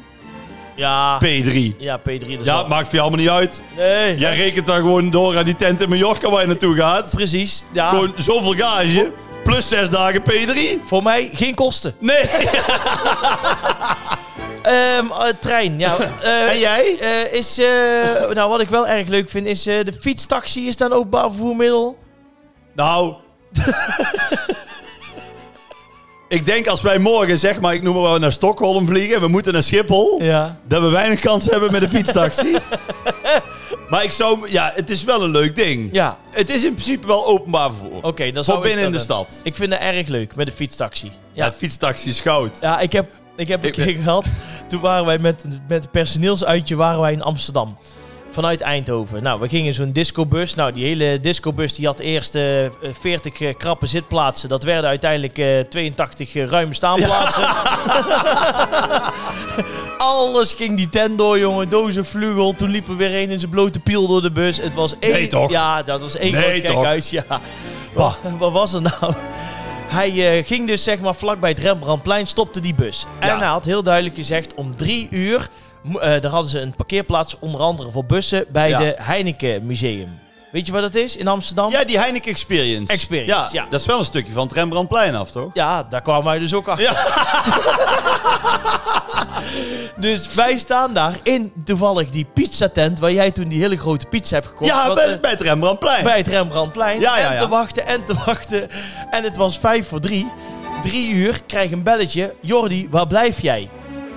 ja,
P3.
ja, P3. dat is
Ja,
wel-
maakt voor jou allemaal niet uit.
Nee,
Jij rekent dan gewoon door aan die tent in Mallorca waar je naartoe gaat.
precies. Ja,
Gewoon zoveel gage, plus zes dagen P3.
voor mij geen kosten.
Nee.
Ehm eh, trein, ja. Eh,
En jij?
eh, is, eh, nou, wat ik wel erg leuk vind is eh, de fietstaxi is dan openbaar vervoermiddel.
Nou. ik denk als wij morgen, zeg maar, ik noem maar wat, naar Stockholm vliegen. We moeten naar Schiphol.
Ja.
Dat we weinig kans hebben met een fietstaxi. maar ik zou... Ja, het is wel een leuk ding.
Ja, oké,
Het is in principe wel openbaar vervoer.
dan zou
Voor
ik
binnen in
dat
de
doen.
stad.
Ik vind het erg leuk met de fietstaxi.
Ja,
Ja,
fietstaxi is goud.
ja ik, heb, ik heb een
Ik-
keer gehad. Toen waren wij met, met het personeelsuitje waren wij in Amsterdam. Vanuit Eindhoven. Nou, we gingen zo'n discobus. Nou, die hele discobus die had eerst eh, 40 eh, krappe zitplaatsen. Dat werden uiteindelijk eh, 82 eh, ruime staanplaatsen. Alles ging die tent door, jongen. Dozen vlugel. Toen liep er weer een in zijn blote piel door de bus. Het was één...
Nee, toch?
Ja, dat was één
Nee,
groot
toch?
gekhuis. Ja. Wat, wat was er nou? Hij eh, ging dus zeg maar vlakbij het Rembrandtplein, stopte die bus. En
Ja.
hij had heel duidelijk gezegd, om drie uur... mo- eh, daar hadden ze een parkeerplaats, onder andere voor bussen... bij
Ja.
de Heineken Museum. Weet je wat dat is in Amsterdam?
Ja, die Heineken Experience.
Experience, ja.
Dat is wel een stukje van het Rembrandtplein af, toch?
Ja, daar kwamen wij dus ook achter. dus wij staan daar in toevallig die pizzatent... waar jij toen die hele grote pizza hebt gekocht.
Ja,
Wat,
bij,
eh,
bij het Rembrandtplein.
bij het Rembrandtplein.
Ja, ja,
En
ja.
te wachten en te wachten. En het was vijf voor drie. Drie uur, krijg een belletje. Jordi, waar blijf jij?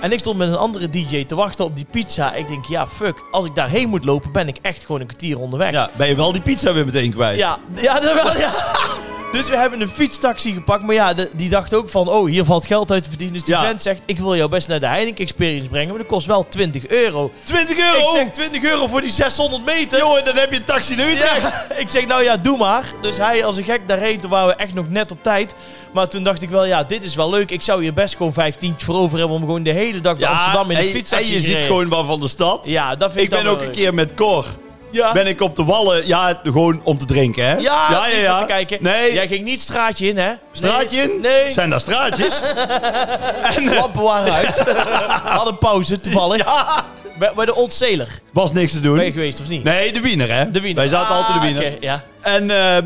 En ik stond met een andere DJ te wachten op die pizza. Ik denk, ja, fuck. Als ik daarheen moet lopen, ben ik echt gewoon een kwartier onderweg.
Ja, ben je wel die pizza weer meteen kwijt.
Ja, ja, dat wel, ja. Dus we hebben een fietstaxi gepakt. Maar ja, de- die dacht ook van, oh, hier valt geld uit te verdienen. Dus die
Ja.
vent zegt, ik wil jou best naar de Heineken Experience brengen. Maar dat kost wel 20 euro.
20 euro!
Ik zeg 20 euro voor die 600 meter.
Jongen, dan heb je een taxi naar Utrecht.
Ja, ik zeg nou ja, doe maar. Dus hij als een gek daarheen, toen waren we echt nog net op tijd. Maar toen dacht ik wel, ja, dit is wel leuk. Ik zou hier best gewoon vijftientjes voor over hebben om gewoon de hele dag naar Amsterdam in de
en,
fiets
en je ziet gewoon wat van de stad.
Ja, dat vind
ik
ik, dan
ben
wel
ook een
leuk.
keer met Cor.
Ja,
Ben ik op de wallen, ja, gewoon om te drinken, hè?
ja,
ja,
even
ja.
te kijken.
Nee,
Jij ging niet straatje in, hè?
straatje
nee,
in?
Nee,
Zijn daar straatjes? en, eh,
lampen waren uit. We hadden pauze, toevallig. Bij, bij de Old Sailor
was niks te doen.
ben je geweest, of niet?
Nee, de wiener, hè?
De Wiener.
Wij zaten altijd de
Ah,
wiener.
oké, ja.
En eh,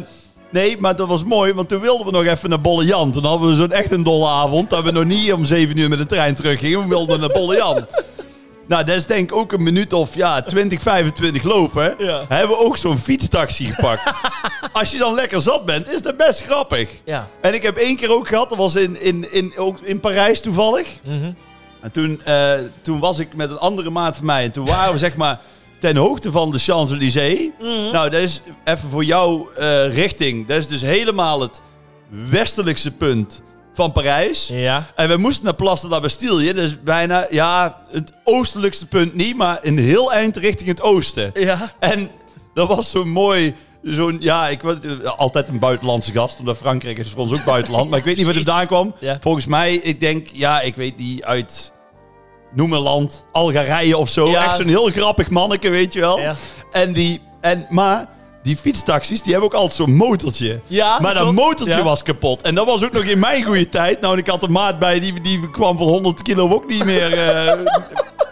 nee, maar dat was mooi, want toen wilden we nog even naar Bollejan. Toen hadden we zo'n echt een dolle avond, dat we nog niet om 7 uur met de trein teruggingen. We wilden naar Bollejan. Nou, dat is denk ik ook een minuut of ja, 20, 25 lopen.
Ja.
Hebben we ook zo'n fietstaxi gepakt. Als je dan lekker zat bent, is dat best grappig.
Ja.
En ik heb één keer ook gehad, dat was in, in, in, ook in Parijs toevallig.
Mhm.
En toen, eh, toen was ik met een andere maat van mij. En toen waren we zeg maar ten hoogte van de Champs-Élysées.
Mhm.
Nou, dat is even voor jouw eh, richting. Dat is dus helemaal het westelijkste punt van Parijs.
Ja.
En we moesten naar Place de la Bastille. Dat is bijna, ja, het oostelijkste punt niet, maar een heel eind richting het oosten.
Ja.
En dat was zo mooi. Zo'n, ja, ik was eh, altijd een buitenlandse gast, omdat Frankrijk is voor ons ook buitenland. Maar ik weet niet waar het vandaan kwam.
Ja.
Volgens mij, ik denk, ja, ik weet niet, uit, noem een land, Algerije of zo.
Ja.
Echt zo'n heel grappig manneke, weet je wel.
Ja.
En die, en, maar die fietstaxis, die hebben ook altijd zo'n motortje.
Ja,
maar dat
klopt.
motortje
Ja.
was kapot. En dat was ook nog in mijn goede tijd. Nou, en ik had een maat bij, die, die kwam voor 100 kilo ook niet meer, eh,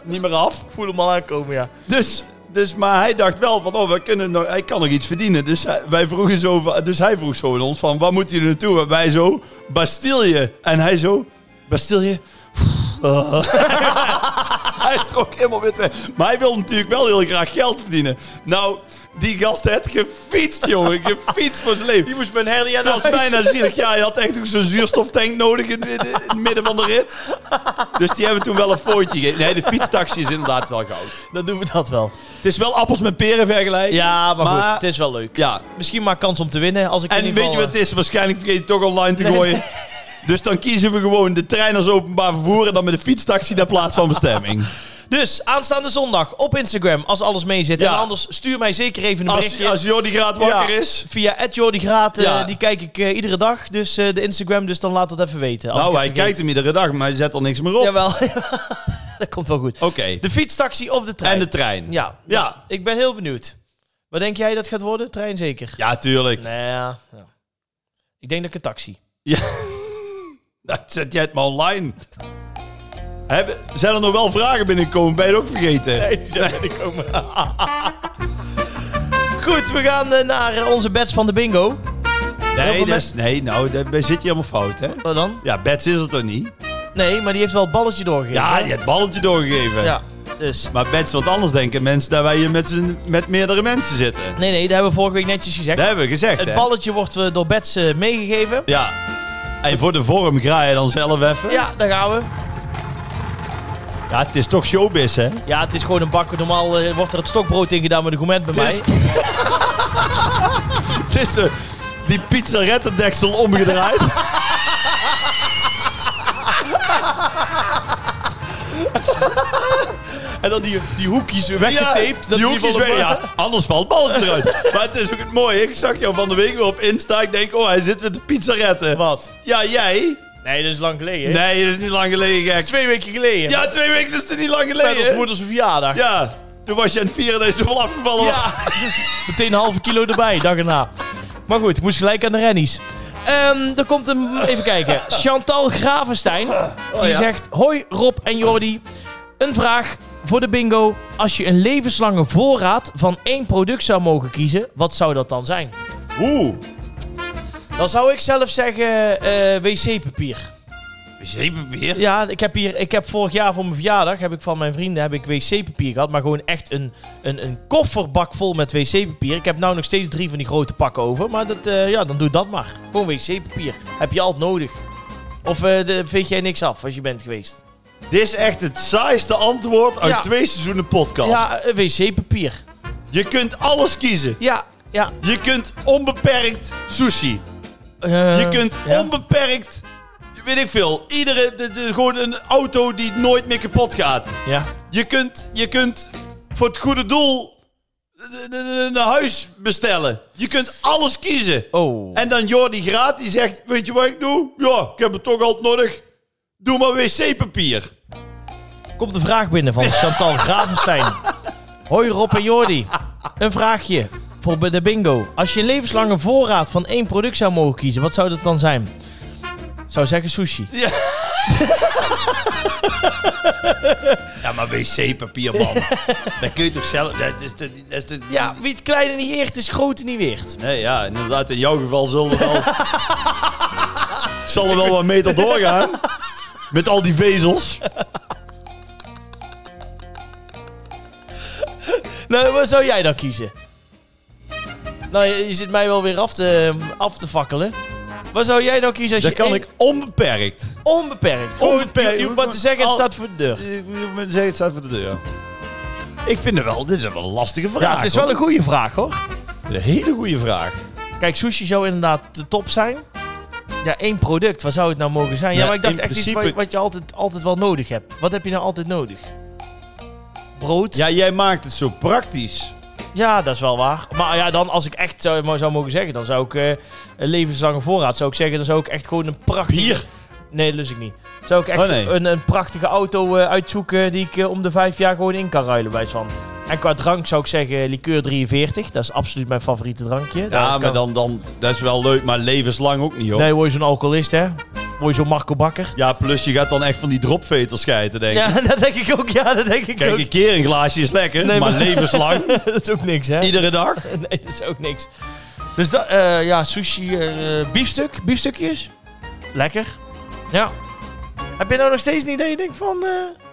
niet meer af.
Ik voel hem al aankomen, ja.
Dus, dus, maar hij dacht wel van, oh, we kunnen nog, hij kan nog iets verdienen. Dus hij, wij vroegen zo, van- dus hij vroeg zo aan ons van, waar moeten jullie naartoe? En wij zo, Bastille. En hij zo, Bastille? Ah. hij trok helemaal wit weg. Maar hij wilde natuurlijk wel heel graag geld verdienen. Nou, die gast had gefietst, jongen. Gefietst voor zijn leven.
Die moest mijn hernia naar
Dat was
huis.
bijna zielig. Ja, je had echt ook zo'n zuurstoftank nodig in, in- in het midden van de rit. Dus die hebben toen wel een fooitje gegeven. Nee, de fietstaxi is inderdaad wel goud.
Dan doen we dat wel.
Het is wel appels met peren vergelijken.
Ja, maar, goed,
Maar-
het is wel leuk.
Ja.
Misschien maar kans om te winnen. Als ik in
En
ieder
weet je
geval, eh.
wat het is? Waarschijnlijk vergeet je het toch online te gooien. Dus dan kiezen we gewoon de trein als openbaar vervoer en dan met de fietstaxi naar plaats van bestemming.
eh, Dus aanstaande zondag op Instagram, als alles mee zit.
Ja.
En anders stuur mij zeker even een
Als,
berichtje.
als Jordi Graat wakker
Ja,
is.
Via Jordi Graat, eh,
Ja.
die kijk ik eh, iedere dag. Dus eh, de Instagram, dus dan laat dat even weten. Als
Nou,
ik
hij
het vergeet.
kijkt hem iedere dag, maar hij zet er niks meer op. Oké.
Jawel, dat komt wel goed. De fietstaxi of de trein?
En de trein.
Ja.
Ja.
Ik ben heel benieuwd. Wat denk jij dat gaat worden? Trein zeker?
Ja, tuurlijk.
Nee, ja. ja. Ik denk dat ik een taxi.
Nou, zet jij het maar online. Hebben- zijn er nog wel vragen binnengekomen? Ben je het ook vergeten?
Nee, zo ben ik komen. Goed, we gaan eh, naar eh, onze bets van de bingo. heel
Nee,
veel
dat is- nee nou, daar daar zit je helemaal fout, hè?
Wat dan?
Ja, Bets is het toch niet?
Nee, maar die heeft wel het balletje doorgegeven.
Ja,
hè?
die heeft het balletje doorgegeven.
ja. Dus.
Maar Bets, wat anders denken mensen dat wij hier met, z'n- met meerdere mensen zitten.
Nee, nee, dat hebben we vorige week netjes gezegd.
Dat hebben we gezegd,
het
hè?
balletje wordt eh, door Bets eh, meegegeven.
Ja. En voor de vorm ga je dan zelf even.
Ja, daar gaan we.
Ja, het is toch showbiz, hè?
Ja, het is gewoon een bak. Normaal eh, wordt er het stokbrood in gedaan met een gourmet bij
Het
mij.
is- Het is eh, die pizzarettendeksel omgedraaid.
En dan die, die hoekjes
Weggetaped.
dat
die
in
hoekjes
ieder geval
weg-
een-
ja, anders valt het balletje eruit. maar het is ook het mooie. Ik zag jou van de week weer op Insta. Ik denk, oh, hij zit met de pizzaretten.
Wat?
Ja, jij?
Nee, dat is lang geleden. hè?
Nee, dat is niet lang geleden, gek.
Twee weken geleden.
Ja, twee weken dat is er niet lang
Met ons
geleden.
moeders verjaardag.
Ja, toen was je aan het vieren dat je zoveel afgevallen was.
Ja. Meteen een halve kilo erbij, dag erna. Maar goed, moest gelijk aan de rennies. Ehm er komt een... Even kijken. Chantal Gravenstein. die
ja.
zegt... Hoi Rob en Jordi. Een vraag voor de bingo. Als je een levenslange voorraad van één product zou mogen kiezen... Wat zou dat dan zijn?
Oeh,
Dan zou ik zelf zeggen... eh, wc-papier.
zeepapier.
Ja, ik heb hier, ik heb vorig jaar voor mijn verjaardag heb ik van mijn vrienden heb ik wc-papier gehad, maar gewoon echt een, een, een kofferbak vol met wc-papier. Ik heb nou nog steeds drie van die grote pakken over, maar dat, eh, ja, dan doe dat maar. Gewoon wc-papier. Heb je altijd nodig. Of eh, de, veeg jij niks af als je bent geweest?
Dit is echt het saaiste antwoord uit
Ja.
twee seizoenen podcast.
Ja, eh, wc-papier.
Je kunt alles kiezen.
Ja, ja.
Je kunt onbeperkt sushi.
eh,
Je kunt
ja.
onbeperkt, weet ik veel, iedere, de, de- gewoon een auto die nooit meer kapot gaat.
Ja.
Je kunt, je kunt voor het goede doel een- een een huis bestellen. Je kunt alles kiezen.
Oh.
En dan Jordi Graat die zegt, weet je wat ik doe? Ja, ik heb het toch altijd nodig. Doe maar wc-papier.
Komt een vraag binnen van Chantal Gravenstein. Hoi Rob en Jordi. Een vraagje voor bij de bingo. Als je een levenslange voorraad van één product zou mogen kiezen, wat zou dat dan zijn? Zou zeggen sushi.
Ja, maar wc-papier, man. dat kun je toch zelf... Dat is, dat is, dat is-
Ja, wie het kleine niet eert, is grote niet weert.
Nee, ja, inderdaad. In jouw geval zullen we wel... zal er wel wat meter doorgaan. Met al die vezels.
Nou, wat zou jij dan kiezen? Nou, je, je zit mij wel weer af te, af te fakkelen. Wat zou jij dan kiezen als
Dat
je
kan
één-
ik onbeperkt.
onbeperkt... Gewoon,
Onbeperkt.
Je, je hoeft maar te zeggen, het staat voor de deur.
Zeg, het staat voor de deur. Ik vind het wel... Dit is wel een lastige vraag.
Ja, het is wel een goede vraag, hoor.
een hele goede vraag.
Kijk, sushi zou inderdaad de top zijn. Ja, één product, wat zou het nou mogen zijn? Ja,
Ja,
maar ik dacht
in
echt iets wat,
principe-
wat je altijd, altijd wel nodig hebt. Wat heb je nou altijd nodig? Brood? Ja.
Ja, jij maakt het zo praktisch.
dat is wel waar. Maar ja, dan als ik echt zou, maar zou mogen zeggen, dan zou ik eh, een levenslange voorraad zou ik zeggen, dan zou ik echt gewoon een prachtige...
Bier.
Nee, lust ik niet. Zou ik echt
Oh, nee.
een, een prachtige auto eh, uitzoeken die ik eh, om de vijf jaar gewoon in kan ruilen bij van. En qua drank zou ik zeggen liqueur 43. Dat is absoluut mijn favoriete drankje. Daar
Ja,
kan-
maar dan, dan, dat is wel leuk, maar levenslang ook niet, hoor.
Nee, word je zo'n alcoholist, hè? Word je zo'n Marco Bakker?
Ja, plus je gaat dan echt van die dropveters schijten, denk ik.
Ja, dat denk ik ook. Ja, dat denk ik
Kijk, een
ook.
keer een glaasje is lekker,
Nee,
maar,
maar-
levenslang,
dat is ook niks, hè?
iedere dag.
Nee, dat is ook niks. Dus dat, eh, ja, sushi, eh biefstuk, biefstukjes. Lekker. Ja. Heb je nou nog steeds een idee, denk ik, van... eh,
Ik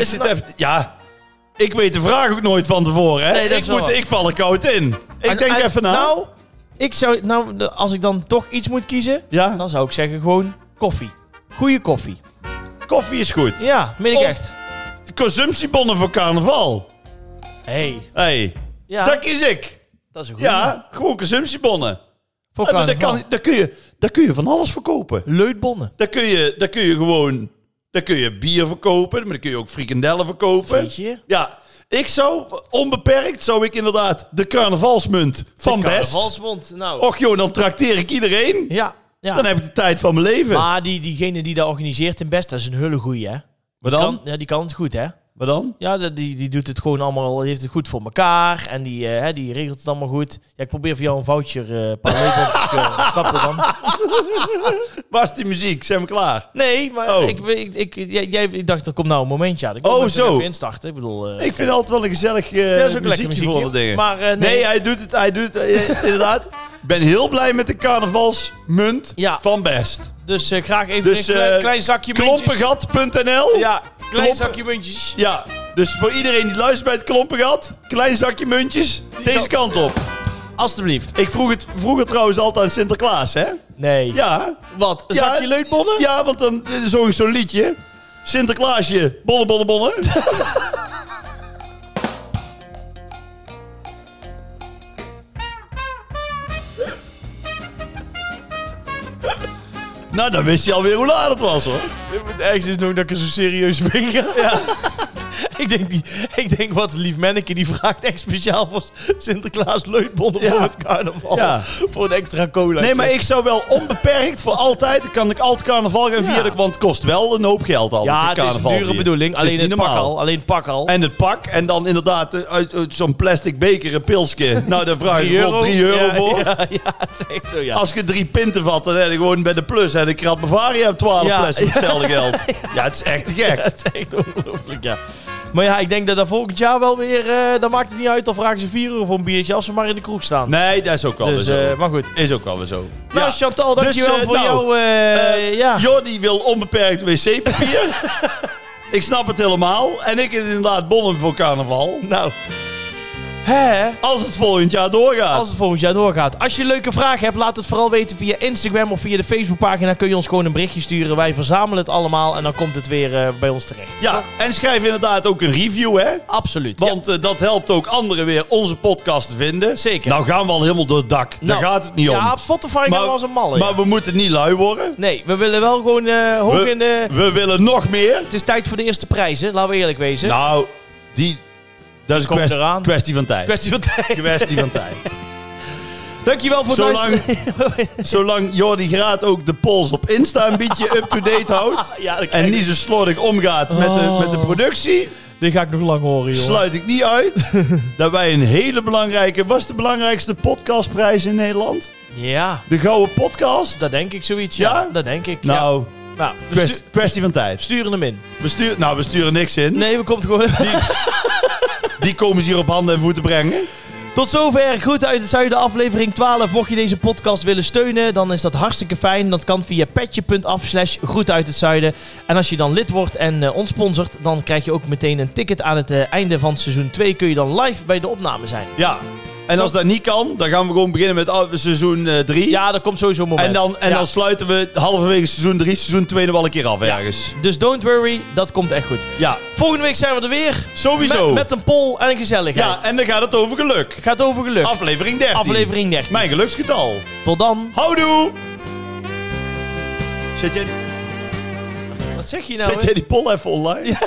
Is nou-
zit
het
even... Ja, ik weet de vraag ook nooit van tevoren, hè?
Nee, dat
ik,
is wel
moet,
waar.
ik val er koud in. Ik
en-
denk
en-
even na.
Nou, ik zou, nou, de- als ik dan toch iets moet kiezen,
ja,
dan zou ik zeggen gewoon koffie. Goeie koffie.
koffie is goed.
Ja, meen ik
Of-
echt.
Consumptiebonnen voor carnaval.
hey.
hey,
ja,
dat
dat,
kies ik.
is een goeie.
Ja, gewoon consumptiebonnen.
Voor
Ah, maar Daar,
carnaval.
kan, daar, kun je, daar kun je van alles verkopen.
Leutbonnen.
Daar kun je, daar kun je gewoon... Daar kun je bier verkopen, maar dan kun je ook frikandellen verkopen.
Weet je?
Ja, ik zou, onbeperkt, zou ik inderdaad de carnavalsmunt van
De
best.
carnavalsmond, nou.
Och joh, dan trakteer ik iedereen.
Ja, ja.
Dan heb ik de tijd van mijn leven.
Maar die, diegene die dat organiseert in Best, dat is een hele goeie, hè?
maar dan?
Kan, ja, die kan het goed, hè?
Maar dan?
Ja, dat- die, die doet het gewoon allemaal, die heeft het goed voor elkaar. En die, eh, hè, die regelt het allemaal goed. Ja, ik probeer voor jou een voucher eh een paar weken op te spelen. Snap je dan?
Waar is die muziek? Zijn we klaar?
Nee, maar
Oh.
ik, ik, ik, jij, jij- ik dacht, er komt nou een momentje aan. Ik moet
Oh,
er
zo.
Even instarten. Ik bedoel, eh,
Ik vind altijd wel een gezellig
ja,
eh
dat is ook
muziekje
lekker muziek.
voor de dingen.
Maar eh,
nee.
nee,
hij doet het. Hij doet het, eh, inderdaad. Ik ben heel blij met de carnavalsmunt
Ja.
van Best.
dus eh, graag even
Dus,
een klein,
eh,
klein zakje muntjes.
Klompengat.nl
Ja, klein
Klompen-
zakje muntjes.
Ja, dus voor iedereen die luistert bij het Klompengat, klein zakje muntjes, deze kant op.
Alsjeblieft.
Ik vroeg het vroeger trouwens altijd aan Sinterklaas, hè?
Nee.
Ja,
Wat? Een
Ja.
zakje leutbonnen?
ja want dan eh, zong ik zo'n liedje. Sinterklaasje, bolle, bolle, bolle. nou, dan wist hij alweer hoe laat het was, hoor.
Het ergste is nog dat ik er zo serieus mee ga. ik, denk die, ik denk, wat een lief manneke, die vraagt echt speciaal voor Sinterklaas leutbonnen
Ja.
voor het carnaval.
Ja.
Voor een extra cola.
Nee, maar ik zou wel onbeperkt voor altijd. Dan kan ik altijd carnaval gaan
Ja.
vieren. Want het kost wel een hoop geld altijd.
Ja, het is een
carnaval
dure
vieren.
bedoeling.
Het is
Alleen
niet
het, pak
normaal.
al. Alleen het pak al.
En het pak. En dan inderdaad eh, uit, uit zo'n plastic beker een pilsje. Nou, daar vraag je bijvoorbeeld 3 euro
Ja,
voor.
Ja, ja, het is echt zo, ja.
Als je drie pinten vat, dan heb je gewoon bij de plus. En ik krat Bavaria hebt 12
Ja.
flessen voor hetzelfde geld. Ja, het is echt te gek.
Het is echt ongelooflijk, ja. Maar ja, ik denk dat dat volgend jaar wel weer... eh dan maakt het niet uit, dan vragen ze 4 euro voor een biertje als ze maar in de kroeg staan.
Nee, Nou, dat is ook wel
dus,
weer zo.
eh, maar goed.
is ook wel weer zo.
Nou, Chantal, dankjewel
eh,
voor
nou,
jouw... eh,
Eh,
ja.
Jordi wil onbeperkt wc-papier. ik snap het helemaal. En ik inderdaad bonnen voor carnaval.
Nou. Hè?
Als het volgend jaar doorgaat.
Als het volgend jaar doorgaat. Als je leuke vragen hebt, laat het vooral weten via Instagram of via de Facebookpagina. Kun je ons gewoon een berichtje sturen. Wij verzamelen het allemaal en dan komt het weer eh, bij ons terecht.
Ja, en schrijf inderdaad ook een review, hè?
Absoluut.
Want eh, dat helpt ook anderen weer onze podcast te vinden.
Zeker.
Nou gaan we al helemaal door het dak.
Nou,
Daar gaat het niet
ja.
om.
ja, op Spotify gaan we als een malle.
maar we moeten niet lui worden.
Nee, we willen wel gewoon eh, hoog
We-
in de...
We willen nog meer.
Het is tijd voor de eerste prijzen, laten we eerlijk wezen.
Nou, die, dat is een
Komt
kwest-
eraan.
kwestie van tijd.
Kwestie van tijd.
Kwestie van tijd.
Dankjewel voor het
Zolang,
luisteren.
zolang Jordi Graat ook de polls op Insta een beetje up-to-date houdt.
Ja, dat krijg
En niet zo slordig omgaat met, de,
Oh.
met de productie.
Dit ga ik nog lang horen, joh.
Sluit ik niet uit dat wij een hele belangrijke... Was de belangrijkste podcastprijs in Nederland?
Ja,
De Gouden Podcast?
dat denk ik zoiets. Ja,
Ja?
dat denk ik. ja.
nou,
nou we
kwest-
stu-
kwestie van tijd.
sturen hem in.
We sturen, nou, we sturen niks in.
Nee, we komt gewoon...
Die komen ze hier op handen en voeten brengen.
Tot zover. Goed uit het zuiden, aflevering 12. Mocht je deze podcast willen steunen, dan is dat hartstikke fijn. Dat kan via petje.af slash goed uit het zuiden. En als je dan lid wordt en eh, ons sponsort, dan krijg je ook meteen een ticket aan het eh, einde van seizoen 2. Kun je dan live bij de opname zijn.
Ja. En als dat niet kan, dan gaan we gewoon beginnen met oh, seizoen 3.
Ja, er komt sowieso een moment.
En, dan, en
Ja.
dan sluiten we halverwege seizoen 3, seizoen 2 nog wel een keer af ergens.
Dus don't worry, dat komt echt goed.
Ja,
Volgende week zijn we er weer.
sowieso.
Met, met een poll en een gezelligheid.
ja, en dan gaat het over geluk.
Gaat over geluk.
Aflevering 13.
Aflevering 13.
Mijn geluksgetal.
Tot dan.
Houdoe! Zet jij,
Wat zeg je nou?
nou? zet jij die poll even online?